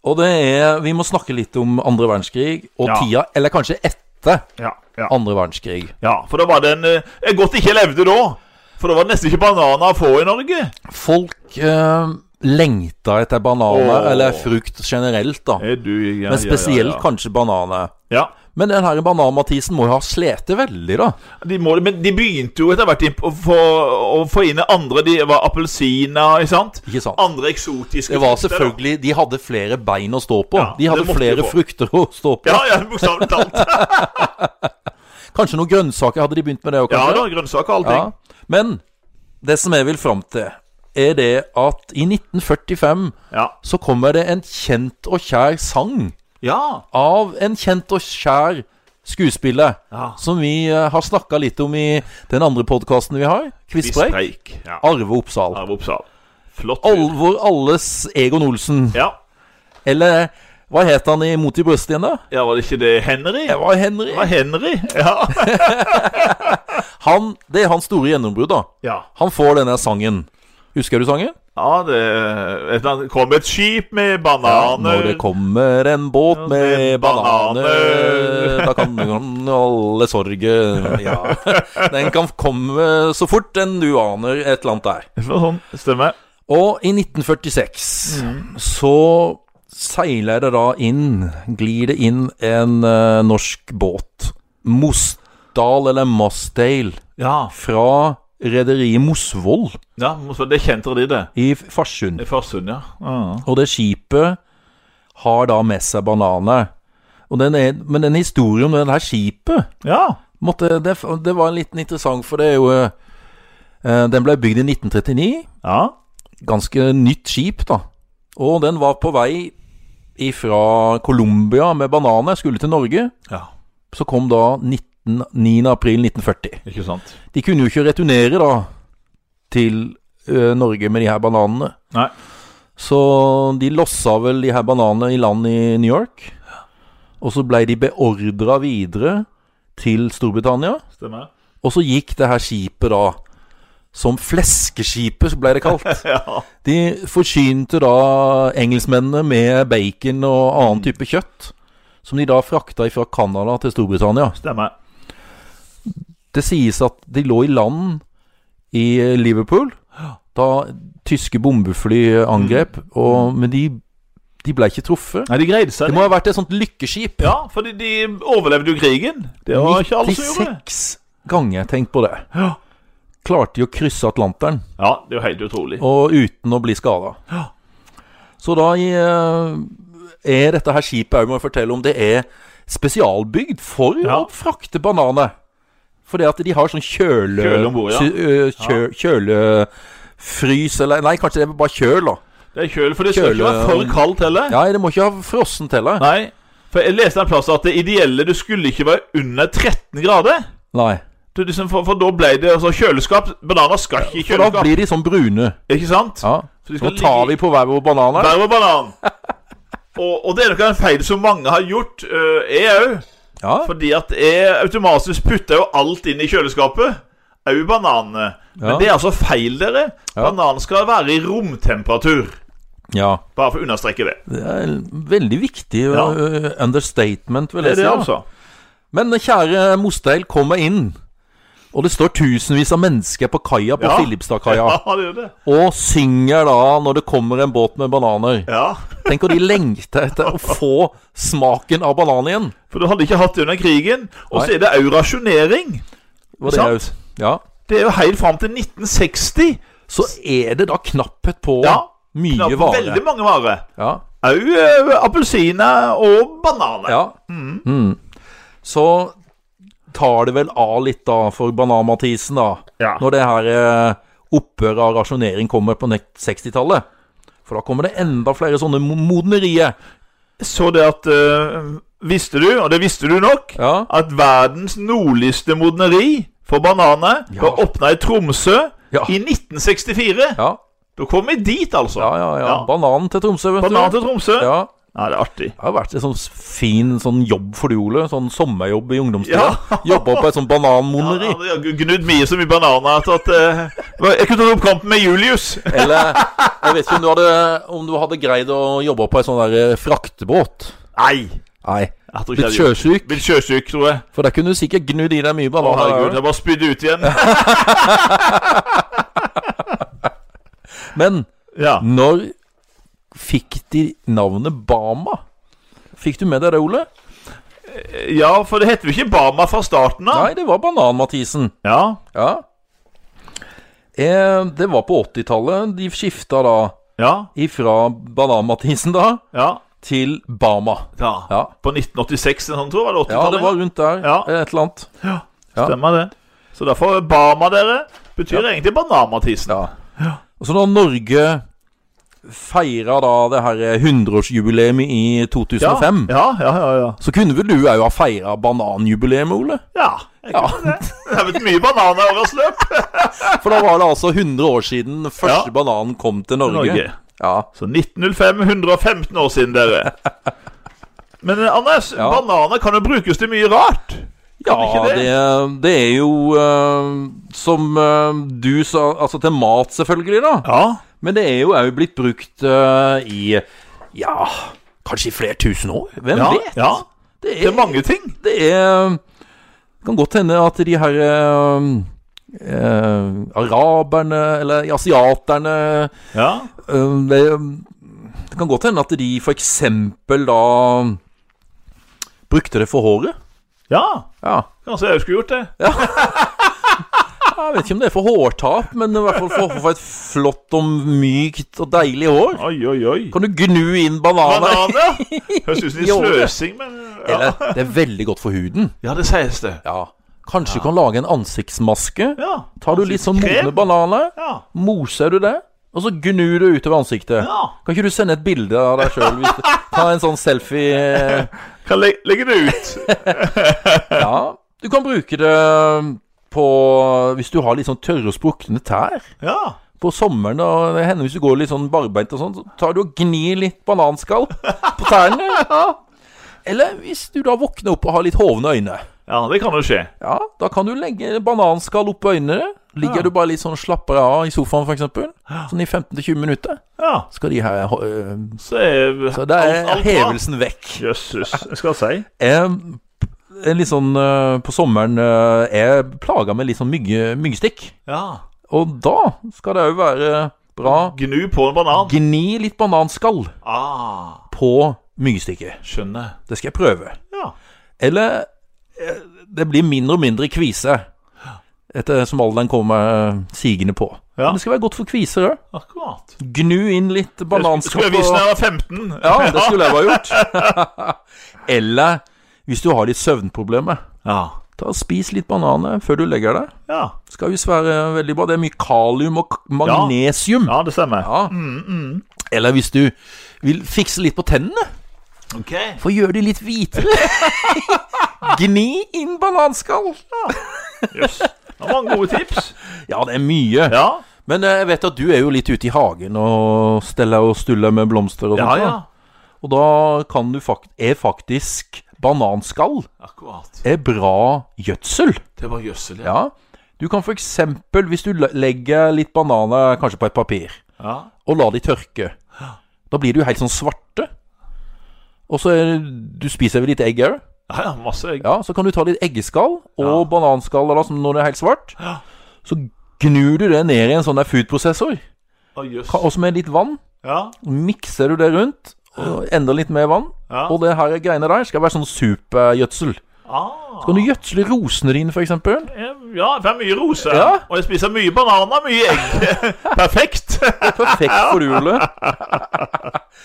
Og det er Vi må snakke litt om andre verdenskrig og Ja. tida, eller kanskje etter Ja, ja. andre verdenskrig. ja, for da var det en eh, eh, Godt ikke jeg levde da, for da var det nesten ikke bananer å få i Norge. Folk eh, lengta etter bananer, Åh. eller frukt generelt, da. Er Eh, du, ja, Men spesielt ja, ja, kanskje bananer. ja. Men den her Banan-Mathisen må jo ha slete veldig, da. ja. De må, men de begynte jo etter hvert inn- å få, å få inn andre. De var appelsiner, ikke sant? Ikke sant? Andre eksotiske Det var frukter, da. selvfølgelig De hadde flere bein å stå på. Ja, de det hadde måtte de flere få. frukter å stå på. Ja, ja, bokstavelig talt. Kanskje noen grønnsaker hadde de begynt med det òg, Ja kanskje? da, grønnsaker og allting. Ja. Men det som jeg vil fram til, er det at i 1945 Ja. så kommer det en kjent og kjær sang ja. av en kjent og kjær skuespiller Ja. som vi eh, har snakka litt om i den andre podkasten vi har, Quizbreak. Bispreik. Ja. Arve Oppsal. Arve Oppsal. Flott. fyr. Alvor alles Egon Olsen. Ja. Eller hva het han i Mot i brøstet igjen, da? ja, var det ikke det Henry? Det var Henry. Det var Henry. Ja. Han, det er hans store gjennombrudd, da. ja. Han får denne sangen. Husker du sangen? ja det et, eller annet- kom et skip Når med det bananer. kommer en båt med Med bananer. bananer, da kan den alle sorger Ja. Den kan komme så fort enn du aner et eller annet der. Sånn, stemmer. Og i 1946 så seiler det da inn, glir det inn en eh, norsk båt. Mosdal, eller Mosdale, Ja. fra rederiet Mosvold ja, så det kjente de det. i Farsund. I Farsund, ja. Ja. Og det skipet har da med seg bananer. Og den er, men den historien om det her skipet ja. måtte, det, det var en liten interessant, for det er jo eh, Den ble bygd i 1939. ja. Ganske nytt skip, da. Og den var på vei ifra Colombia med bananer, skulle til Norge. Ja. Så kom da 19, 9. april 1940. Ikke sant. De kunne jo ikke returnere da til eh, Norge med de her bananene. Nei. Så de lossa vel de her bananene i land i New York. Og så blei de beordra videre til Storbritannia. Stemmer. Og så gikk det her skipet da som Fleskeskipet, blei det kalt. Ja. De forsynte da engelskmennene med bacon og Mm. annen type kjøtt. Som de da frakta fra Canada til Storbritannia. Stemmer. Det sies at de lå i land i Liverpool da tyske bombefly angrep, Mm. og, men de, de ble ikke truffet. Nei, de greide seg. Det må ha vært et sånt lykkeskip. Ja, fordi de overlevde jo krigen. Det var ikke alle som gjorde. 96 ganger, tenk på det. Ja. Klarte de å krysse Atlanteren, Ja, det er jo helt utrolig. og uten å bli skada. Så da eh, er dette her skipet òg, må jeg fortelle om, det er spesialbygd for Ja. å frakte bananer. Fordi at de har sånn kjøle... Kjøle om bord, ja. sy- ø, kjø, Kjølefrys, eller Nei, kanskje det er bare kjøl, da. Det er kjøl, for det skal ikke Kjøle- være for kaldt heller. Ja, det må ikke ha frossent heller. Nei, for jeg leste en plass at det ideelle du skulle ikke være under 13 grader. Nei. Du, liksom, for, for da ble det altså, kjøleskap. Bananer skal ikke i For da kjøleskap. blir de sånn brune. Ikke sant? Ja. Så de Nå skal tar vi ligge på hver vår banan i her. bær og banan. Og, og det er nok en feil som mange har gjort, øh, jeg òg. Ja. Fordi at jeg automatisk putter jo alt inn i kjøleskapet. Au bananene. Men Ja. det er altså feil, dere. Ja. Bananen skal være i romtemperatur. ja. Bare for å understreke det. Det er en veldig viktig ø, Ja. ø, understatement, vil Det jeg er si. det, ja. altså. Men kjære Mosteil, kom meg inn. Og det står tusenvis av mennesker på kaia på Ja. Filipstadkaia Ja, det gjør det. og synger da når det kommer en båt med bananer. Ja. Tenk hvor de lengter etter å få smaken av banan igjen. For du hadde ikke hatt det under krigen. Og så er det òg rasjonering. Var det Sant. jo- Ja. Det er jo helt fram til 1960. Så er det da knapphet på Ja, mye Knapt varer. Veldig mange varer. Ja. Au eh, appelsiner og bananer. ja. Mm. Så tar det vel av litt da for Banan-Mathisen, da. Ja. Når det her eh, opphøret av rasjonering kommer på nekt- 60-tallet. For da kommer det enda flere sånne mo- modnerier. Så det at eh, Visste du, og det visste du nok, Ja. at verdens nordligste modneri for bananer Ja. var åpna i Tromsø Ja. i 1964. Ja, Da kom vi dit, altså. ja, ja. ja. Ja. Bananen til Tromsø, vet Banan du. til Tromsø. Ja. Ja. det er artig. Det har vært en sånn fin sånn jobb for du, Ole. Sånn sommerjobb i ungdomstida. Ja. Jobba på et sånn Ja, bananmoneri. jeg har gnudd mye så mye bananer at, at eh, Jeg kunne tatt opp kampen med Julius. Eller jeg vet ikke om du hadde, om du hadde greid å jobbe på ei sånn der eh, fraktebåt. Nei. Nei. Jeg tror Litt ikke jeg hadde gjort det. sjøsyk. Blitt sjøsyk, tror jeg. For der kunne du sikkert gnudd i deg mye Å, herregud. bananer. Jeg bare spydde ut igjen. Men Ja. Når fikk de navnet Bama? Fikk du med deg det, Ole? ja, for det heter jo ikke Bama fra starten av. Nei, det var Banan-Mathisen. Ja. Ja. Eh, det var på 80-tallet. De skifta da Ja. ifra Banan-Mathisen da Ja. til Bama. ja. Ja. På 1986 eller sånn, tror jeg. var det ja, det 80-tallet? var rundt der. Ja. eh, Et eller annet. Ja. Stemmer det. Så derfor Bama, dere, betyr egentlig Banan-Mathisen. Ja. Og så da Norge feira da det her 100-årsjubileet i 2005, Ja, ja, ja. ja. så kunne vel du òg ha feira bananjubileet, Ole? ja. Jeg Ja. kunne det. Det har blitt mye bananer i årets løp. For da var det altså 100 år siden første Ja. bananen kom til Norge. Norge. Ja. Så 1905, 115 år siden, dere. Men eh, Anders, Ja. bananer kan jo brukes til mye rart. Ja, Kan ikke det, det er jo eh, som eh, du sa Altså til mat, selvfølgelig, da. Ja. Men det er jo òg blitt brukt eh, i Ja, kanskje i flere tusen år. Hvem Ja, vet? ja. Det Det er, er mange ting. det er kan godt hende at de her eh, eh, araberne, eller asiaterne Ja. Eh, det, det kan godt hende at de for eksempel da brukte det for håret. ja. Ja. Kanskje jeg skulle gjort det. Jeg vet ikke om det er for hårtap, men i hvert fall for, for et flott og mykt og deilig hår. Oi, oi, oi. Kan du gnu inn bananer? Bananer? Høres ut som I litt året. sløsing, men ja. Eller, det er veldig godt for huden. ja, det sies det. Ja. Kanskje du kan lage en ansiktsmaske. Ja. Tar du litt sånn Krem? modne bananer, Ja. moser du det, og så gnur du utover ansiktet. ja. Kan ikke du sende et bilde av deg sjøl? Ta en sånn selfie. eh, Kan le legge det ut. Ja, du kan bruke det um, på Hvis du har litt sånn tørre og sprukne tær Ja. på sommeren og det hender hvis du går litt sånn barbeint og sånn, så tar du og gnir litt bananskall på tærne. Eller hvis du da våkner opp og har litt hovne øyne. ja, det kan jo skje. Ja, da kan du legge bananskall opp på øynene. Ligger Ja. du bare litt sånn slappere av i sofaen, f.eks., sånn i 15-20 minutter, Ja. skal de her øh, Så er Så da er alt- alt bra. hevelsen vekk. Jøsses. Jeg skal si. Eh, en litt sånn eh, På sommeren eh, er plaga med litt sånn mygge, myggstikk. Ja. Og da skal det òg være bra Gnu på en banan. gni litt bananskall Ah, på myggstikket. skjønner. Det skal jeg prøve. Ja. Eller eh, det blir mindre og mindre kvise etter som alderen kommer eh, sigende på. Ja. Men det skal være godt for kviser òg. Akkurat. Gnu inn litt bananskall. Skulle jeg vist når jeg var 15? Ja, det skulle jeg bare gjort. Eller hvis du har litt søvnproblemer, Ja. ta og spis litt bananer før du legger deg. Ja, Skal visst være veldig bra. Det er mye kalium og k- magnesium. ja det stemmer. Ja. Eller hvis du vil fikse litt på tennene, Ok. for å gjøre de litt hvitere. Gni inn bananskall. Jøss. Det var mange gode tips. Ja, det er mye. Ja. Men eh, jeg vet at du er jo litt ute i hagen og steller og stuller med blomster og Ja, sånt. ja. da. Og da kan du fakt er faktisk bananskall Akkurat. er bra gjødsel. Det var gjødsel, Ja. Du kan for eksempel, hvis du le- legger litt bananer kanskje på et papir, ja. og lar de tørke, da blir de jo helt sånn svarte. Og så er, du spiser vel litt egg òg. Ja, ja, masse egg. Ja, så kan du ta litt eggeskall og Ja. bananskall eller noe som når det er helt svart. Ja. Så gnur du det ned i en sånn der foodprosessor, Å, jøss. ka- også med litt vann. Ja. Mikser du det rundt, og endrer litt med vann. Ja. Og det her greiene der skal være sånn supergjødsel. Ah. Kan du gjødsle rosene dine, f.eks.? Ja, det er mye roser. Ja. Og jeg spiser mye bananer, mye egg. Perfekt. Perfekt for du, Ole.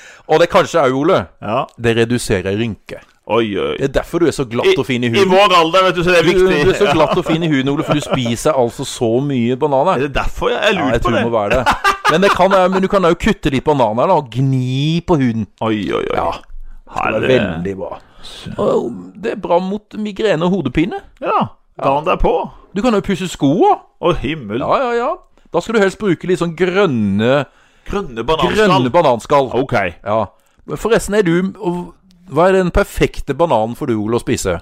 og det kanskje òg, Ole, Ja. det reduserer rynker. Oi, oi. Det er derfor du er så I, glatt og fin i I huden. vår alder, vet du, så det er Du, viktig. du er så glatt og fin i huden, Ole, for du spiser altså så mye Er bananer. det derfor jeg, jeg Ja, lurer jeg på tror det? det må være det. Men, det kan, men du kan òg kutte litt bananer da, og gni på huden. Oi, oi, oi. Ja, Herre. det er veldig bra. Og det er bra mot migrene og hodepine. Ja, dagen derpå. Du kan òg pusse skoa. Å, himmel. Ja, ja, ja. Da skal du helst bruke litt sånn grønne, Grønne bananskall. grønne bananskall. Ok. Ja. Men Forresten, er du og Hva er den perfekte bananen for du, Ole, å spise?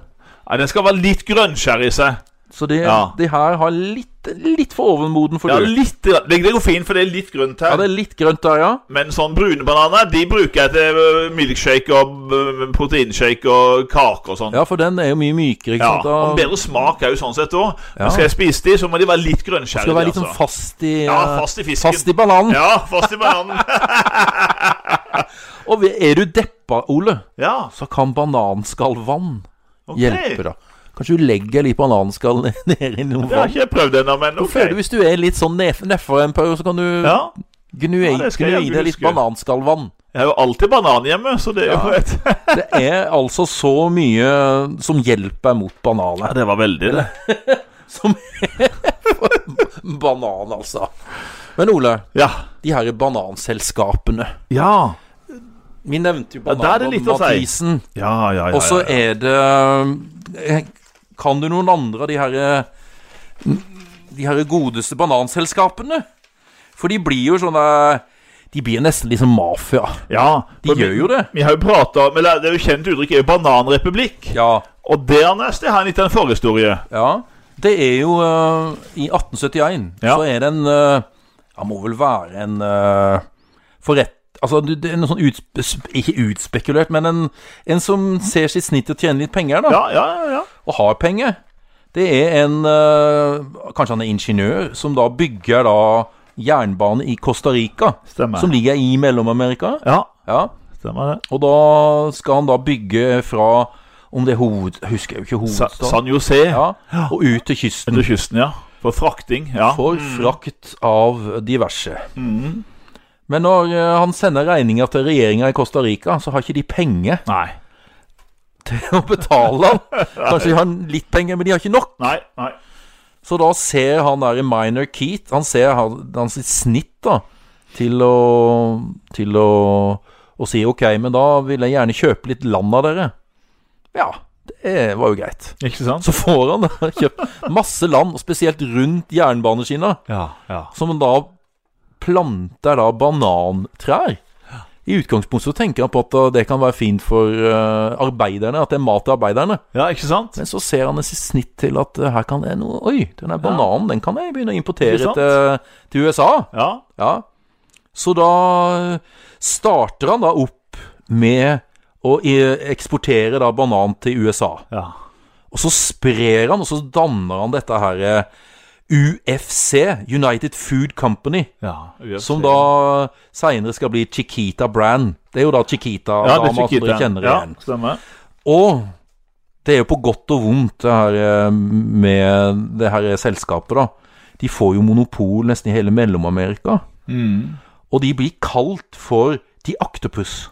Nei, den skal være litt grønnskjær i seg. Så det, Ja. det her har litt, litt for ovenmoden for Ja, du. litt. grann. Det, det går fint, for det er litt grønt Ja, her. det er litt grønt der, ja. Men sånn brune bananer, de bruker jeg til øh, milkshake og øh, proteinshake og kake og sånn. Ja, for den er jo mye mykere, ikke Ja, sant? Da og bedre smak er jo sånn sett òg. Ja. Men Skal jeg spise de, så må de være litt grønnskjære. skal det være de, litt sånn altså. fast i Ja, eh, fast i fisken. Fast i bananen. Ja, fast i bananen. Og er du deppa, Ole, Ja, så kan bananskallvann ok. hjelpe, da. Kanskje du legger litt bananskall ned- ned i noe Det har vann? ikke jeg prøvd ennå, men ok. Føler du Hvis du er litt sånn nef- nedfor en periode, så kan du Ja. gnu, i- Ja, det skal gnu jeg i deg litt huske. bananskallvann. Jeg har jo alltid banan hjemme, så det er jo et Det er altså så mye som hjelper mot bananer. Det var veldig, det. Som Banan, altså. Men Ole, Ja. de her bananselskapene Ja. Vi nevnte jo Ja, der er Banan det litt å si. Mathisen. Ja, ja, ja. Og så ja, ja. er det eh, Kan du noen andre av de her eh, De her godeste bananselskapene? For de blir jo sånne De blir nesten liksom mafia. ja. De for vi- gjør jo det. Vi har jo prata Men det er jo kjent uttrykk er jo bananrepublikk. Ja. Og dernest jeg har en liten forhistorie. ja. Det er jo eh, I 1871 Ja. så er det en eh, Han må vel være en eh, forrett... Altså, du- det er en sånn utspe, ikke utspekulert, men en, en som ser sitt snitt til å tjene litt penger, da. Ja, ja, ja. ja. og har penger. Det er en eh, Kanskje han er ingeniør, som da bygger da jernbane i Costa Rica. Stemmer. Som ligger i Mellom-Amerika. Ja, Ja. stemmer det. Og da skal han da bygge fra Om det er hoved... Husker jeg jo ikke Sa hovedstaden. San José. Ja, og ut til kysten. Under kysten, ja. For frakting. Ja. For frakt av diverse. Mm. Men når eh, han sender regninger til regjeringa i Costa Rica, så har ikke de penger Nei. til å betale han. Kanskje de har litt penger, men de har ikke nok. Nei. nei. Så da ser han der i Minor Keat Han ser han- hans sitt snitt da til å Til å, å si OK, men da vil jeg gjerne kjøpe litt land av dere. Ja, det var jo greit. Ikke sant? Så får han da kjøpt masse land, og spesielt rundt jernbaneskinna, Ja, ja. som han da planter da banantrær. I utgangspunktet så tenker han på at det kan være fint for eh, arbeiderne, at det er mat til arbeiderne. Ja, ikke sant? Men så ser han et snitt til at eh, her kan jeg noe Oi, den der bananen, den kan jeg begynne å importere Ikke sant? til, eh, til USA. Ja. Ja. Så da eh, starter han da opp med å eh, eksportere da banan til USA. Ja. Og så sprer han, og så danner han dette her eh, UFC, United Food Company, Ja, UFC. som da seinere skal bli Chiquita Brand. Det er jo da ja, det Chiquita-dama er som dere Chiquita. kjenner Ja, igjen. stemmer. Og det er jo på godt og vondt det her eh, med det her selskapet, da. De får jo monopol nesten i hele Mellom-Amerika. Mm. Og de blir kalt for De Octopus. Ja, ja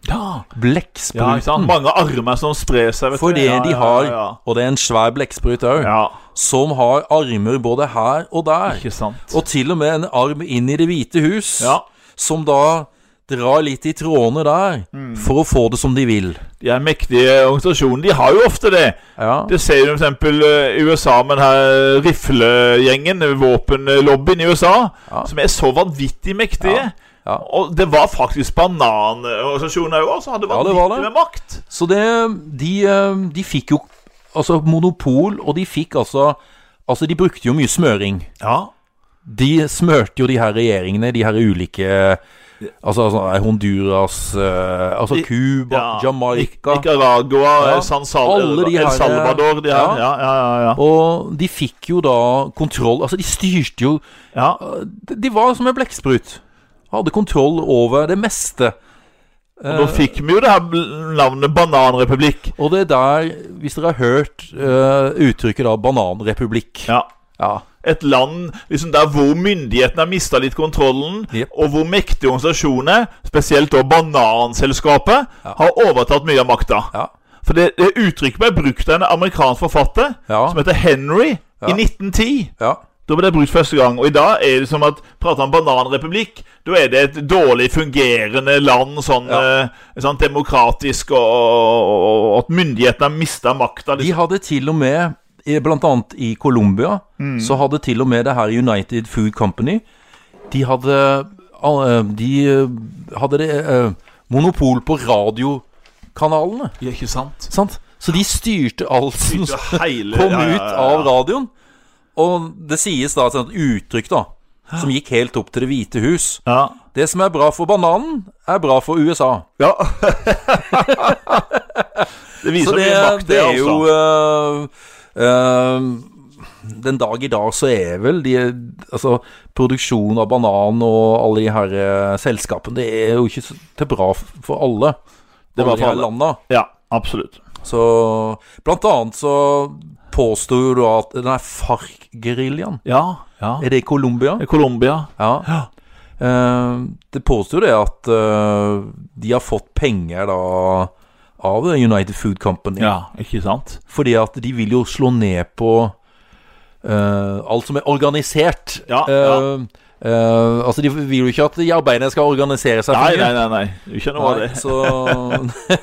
ikke sant? Blekkspruten. Mange armer som sprer seg. vet du. fordi ja, de ja, har ja, Og det er en svær blekksprut òg, ja. som har armer både her og ja, der. ikke sant. Og til og med en arm inn i Det hvite hus, Ja. som da drar litt i trådene der, Mm. for å få det som de vil. De er mektige organisasjoner. De har jo ofte det. Ja. Det ser du f.eks. eh, i USA med den her eh, riflegjengen, eh, våpenlobbyen i USA, Ja. som er så vanvittig mektige. Ja. Og det var faktisk bananorganisasjoner òg, som hadde Ja, det vanvittig var det. med makt. Så det, de, eh, de fikk jo altså monopol, og de fikk altså Altså, de brukte jo mye smøring. Ja. De smørte jo de her regjeringene, de her ulike Altså, altså Honduras, eh, altså I- Cuba, ja. Jamaica Nicaragua, Ja. San Sal Alle de her- El Salvador de Ja. her. Ja, ja, ja. ja. Og de fikk jo da kontroll Altså, de styrte jo ja. eh, De var som en blekksprut. Hadde kontroll over det meste. Og eh, nå fikk vi jo det her bl- navnet Bananrepublikk. Og det er der, hvis dere har hørt eh, uttrykket da 'bananrepublikk' Ja. ja. Et land liksom der hvor myndighetene har mista litt kontrollen, Jep. og hvor mektige organisasjoner, spesielt da Bananselskapet, Ja. har overtatt mye av makta. Ja. For det, det uttrykket ble brukt av en amerikansk forfatter Ja. som heter Henry, Ja. i 1910. ja. Da ble det brukt første gang. Og i dag er det som at prater om bananrepublikk, da er det et dårlig fungerende land, sånn Ja. eh, sant, demokratisk, og, og, og, og at myndighetene har mista makta. De Liksom. hadde til og med, i- blant annet i Colombia, Mm. så hadde til og med det her United Food Company De hadde, all- eh, de eh, hadde det, eh, monopol på radiokanalene, Ja, ikke sant? sant? Så de styrte alt som Så hele, kom ja, ja, ut ja, av ja. radioen. Og det sies da et sånt uttrykk, da, som gikk helt opp til Det hvite hus. Ja. Det som er bra for bananen, er bra for USA. ja. det viser Så det, mye makt, det er jo altså. øh, øh, Den dag i dag så er vel de, altså, produksjon av banan og alle de her eh, selskapene Det er jo ikke så- til bra f- for alle. Det er bra alle de for her alle. landa. Ja, absolutt. Så blant annet så påsto jo du at den her FARC-geriljaen Ja. ja. Er det i Colombia? Colombia. Ja. Eh, det påsto jo det at eh, de har fått penger da av eh, United Food Company. Ja, ikke sant? Fordi at de vil jo slå ned på eh, alt som er organisert. Ja, Eh, eh, altså, de vil jo ikke at de arbeiderne skal organisere seg. for Nei, mye. nei, nei. nei. Du skjønner hva Nei, det er. så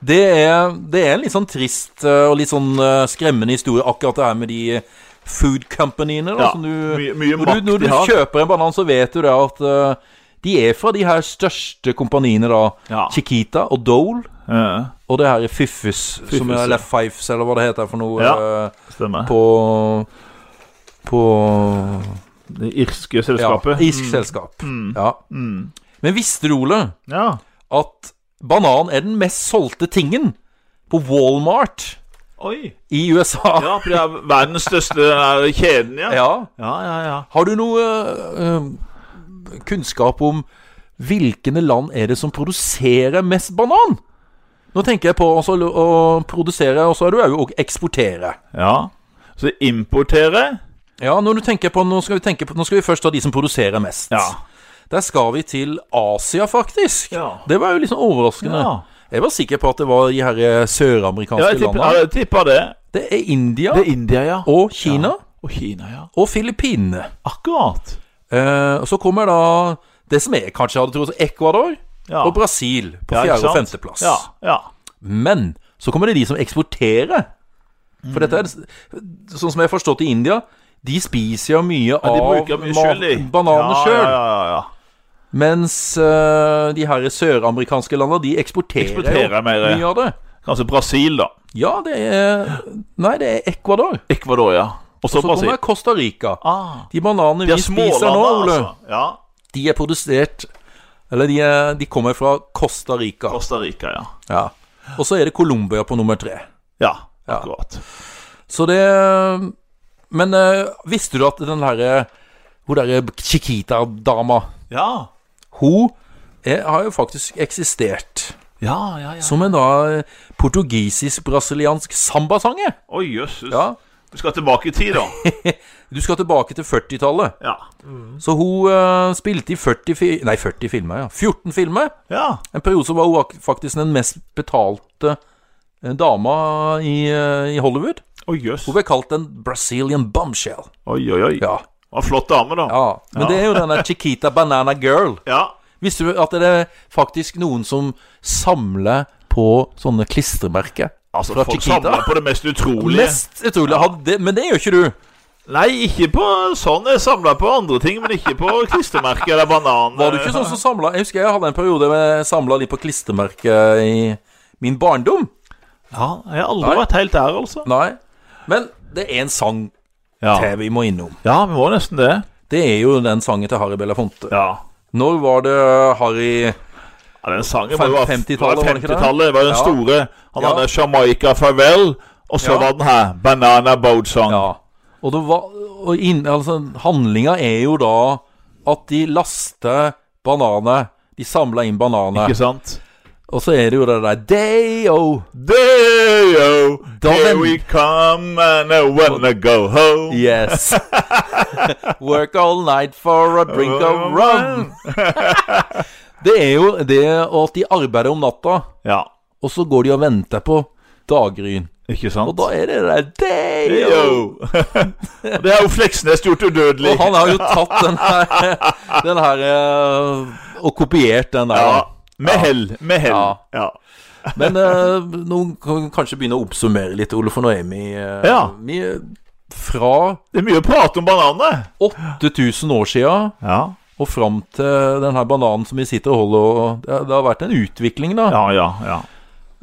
det er, det er en litt sånn trist eh, og litt sånn eh, skremmende historie, akkurat det her med de food companyene. Da, Ja, som mye- du, Altså, mye når makt du, når de du har. kjøper en banan, så vet du det at eh, de er fra de her største kompaniene, da. Ja. Chiquita og Dole. Ja, Og det her er Fyffes, Fyffes, som er ja. Left Fives, eller hva det heter for noe Ja. eh, stemmer. på På Det irske ja, selskapet. irsk selskap. Ja. Mm. Men visste du, Ole, Ja. at banan er den mest solgte tingen på Walmart Oi. i USA? Ja, for det er verdens største eh, kjeden, ja. Ja. Ja, ja, ja. Har du noe eh, kunnskap om hvilke land er det som produserer mest banan? Nå tenker jeg på også å produsere, og så er det jo òg eksportere. ja. Så importere Ja, når du tenker på, nå, skal vi tenke på, nå skal vi først ta de som produserer mest. Ja. Der skal vi til Asia, faktisk. Ja. Det var jo litt sånn overraskende. Ja. Jeg var sikker på at det var de her eh, ja, søramerikanske jeg tipper, ja, landene. jeg tipper det. Det er India er India, ja. Og og Kina Og Kina, ja. og Filippinene. Akkurat. Eh, og så kommer da det som jeg kanskje hadde trodd, Ecuador Ja. og Brasil på Ja, ikke fjerde- og sant? femteplass. Ja, ja. Men så kommer det de som eksporterer. For dette er Sånn som jeg har forstått i India, de spiser jo mye Men de av bruker mye mat- skjell, de. bananene ja, sjøl. Ja, ja, ja, ja. Mens eh, de her søramerikanske landene, de eksporterer, jo Eksporterer mer, ja. mye av det. Kanskje Brasil, da. Ja, det er Nei, det er Ecuador. Ecuador, ja. Og Så så kommer Brasil. Costa Rica. Ah. De bananene vi De er spiser nå, smålanda, Ole, altså. Ja. de er produsert Eller de, er, de kommer fra Costa Rica. Costa Rica, ja. Ja. Og så er det Colombia på nummer tre. Ja. akkurat. Så det Men eh, visste du at den derre Hun derre Chiquita-dama Ja. Hun er, har jo faktisk eksistert Ja, ja, ja. som en da eh, portugisisk-brasiliansk sambasanger. Oi, jøsses. Ja. Du skal tilbake i tid, da. Du skal tilbake til 40-tallet. Ja. Så hun eh, spilte i 40 fi Nei, 40 filmer, ja. 14 filmer. ja. En periode så var hun ak- faktisk den mest betalte eh, dama i, eh, i Hollywood. Oi, jøss. Hun ble kalt en Brazilian bombshell. Oi, oi, oi. Ja. Var en flott dame, da. ja. Men det er jo denne Chiquita Banana Girl. ja. Visste du at det er faktisk noen som samler på sånne klistremerker? Altså, Fra folk Chiquita? samler på det mest utrolige. Mest utrolig. hadde det- Men det gjør ikke du. Nei, ikke på sånn. Jeg samla på andre ting, men ikke på klistremerker eller banan. Var du ikke sånn som samla Jeg husker jeg hadde en periode hvor jeg samla de på klistremerker i min barndom. Ja, Jeg har aldri Nei. vært helt der, altså. Nei. Men det er en sang Ja. til vi må innom. ja, vi må nesten det. Det er jo den sangen til Harry Belafonte. Ja. Når var det Harry ja den sangen var jo Fem- av- 50-tallet, var var det ikke det? 50-tallet. var den Ja. store. Han Ja. hadde Jamaica Farewell, og så Ja. var den her. Banana Boat Song. Ja. Og, det var, og inn, altså, handlinga er jo da at de laster bananer. De samler inn bananer. Ikke sant? Og så er det jo det der oh, Day-o. Day-o, Da here vend- we come and I wanna go home. Yes. Work all night for a drink Oh, of rum. Det er jo det at de arbeider om natta, Ja, og så går de og venter på daggryn. ikke sant? Og da er det der Day-o. Day-o. det har jo Fleksnes gjort udødelig. Og han har jo tatt den her, den her eh, Og kopiert den der. da. Ja, med hell. Med hell. Ja. Ja. ja. Men eh, nå kan vi kanskje begynne å oppsummere litt, Ole, for nå er vi, eh, Ja. vi er fra Det er mye prat om bananer. 8000 år sia Ja. og fram til den her bananen som vi sitter og holder og Det, det har vært en utvikling, da. Ja, ja, ja.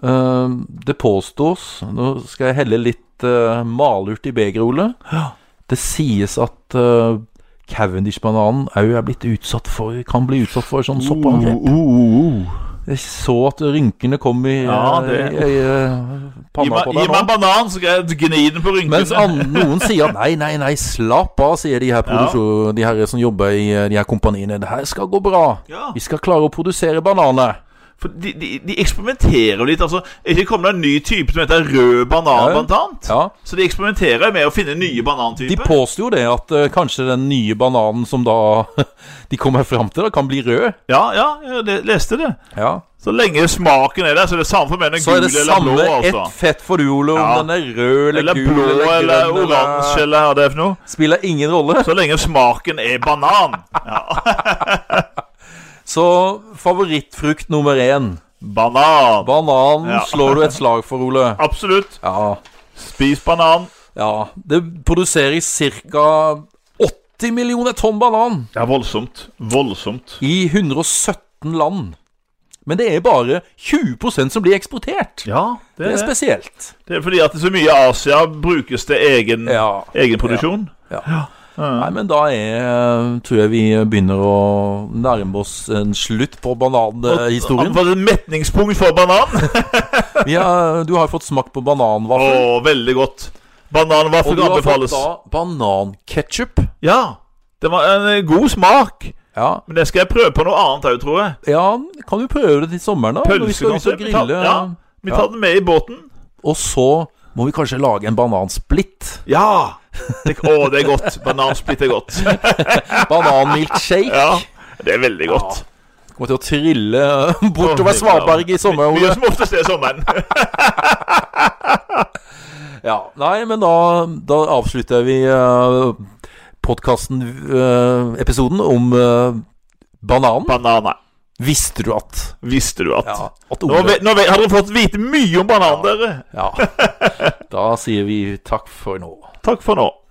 Eh, det påstås Nå skal jeg helle litt eh, malurt i begeret, Ole. Det sies at eh, Cavendish-bananen òg er blitt utsatt for Kan bli utsatt for sånn Uh, soppangrep. Jeg så at rynkene kom i, Ja, eh, det- i, i, eh, Gi panna meg, på gi deg meg en nå. banan, så skal jeg gni den på Mens rynkene. an, noen sier nei, nei, nei, slapp av, sier de her, produksjon- de her som jobber i eh, de her kompaniene. Det her skal gå bra. Ja. Vi skal klare å produsere bananer. For de, de, de eksperimenterer jo litt. altså Er ikke kommet en ny type som heter rød Ja, banan, ja. blant annet? Ja. Så de eksperimenterer med å finne nye De banantyper. påstår jo det at eh, kanskje den nye bananen som da de kommer fram til, da kan bli rød. Ja, ja, jeg le- leste det. Ja. Så lenge smaken er der, så er det samme for meg den Så er det gul eller samme blå. ett altså fett for du, Ole, om Ja. den er rød eller, Eller gul blå eller grønn. eller oransje eller hva det er for noe. Spiller ingen rolle. Så lenge smaken er banan. Så favorittfrukt nummer én. Banan. Bananen Ja. slår du et slag for, Ole. Absolutt. Ja. Spis banan. ja. Det produseres ca. 80 millioner tonn banan Det er voldsomt. Voldsomt. i 117 land. Men det er bare 20 som blir eksportert. Ja, det Det er er det. spesielt. Det er fordi at så mye av Asia brukes til egen, Ja. egen produksjon. Nei, men da er, eh, tror jeg vi begynner å nærme oss en slutt på Eh, Han bananhistorien. var et metningspunkt for banan. Vi har- du har fått smakt på Å, bananvaffel. veldig godt. Og Bananvaffel du har fått anbefales. da bananketchup. Ja. Det var en eh, god smak. Ja, Men det skal jeg prøve på noe annet òg, tror jeg. ja, kan du prøve det til sommeren, da? når vi skal ut og Pølsekonsept. Vi tar- grille. Ja, vi tar den med i båten. Og så må vi kanskje lage en banansplitt. Ja! Det, å, det er godt. Banansplitt er godt. Bananmilkshake. Ja, det er veldig godt. Kommer til å trille bortover Å, Svaberg i sommer. Mye Ole. som oftest er sånn, sommeren. Ja, nei, men da, da avslutter vi uh, podkasten, episoden, om eh, bananen. Bananer. Visste du at Visste du at Ja. At Nå, Ole vet- nå vet- har dere fått vite mye om bananer, dere. Ja. Da sier vi takk for nå. Takk for nå.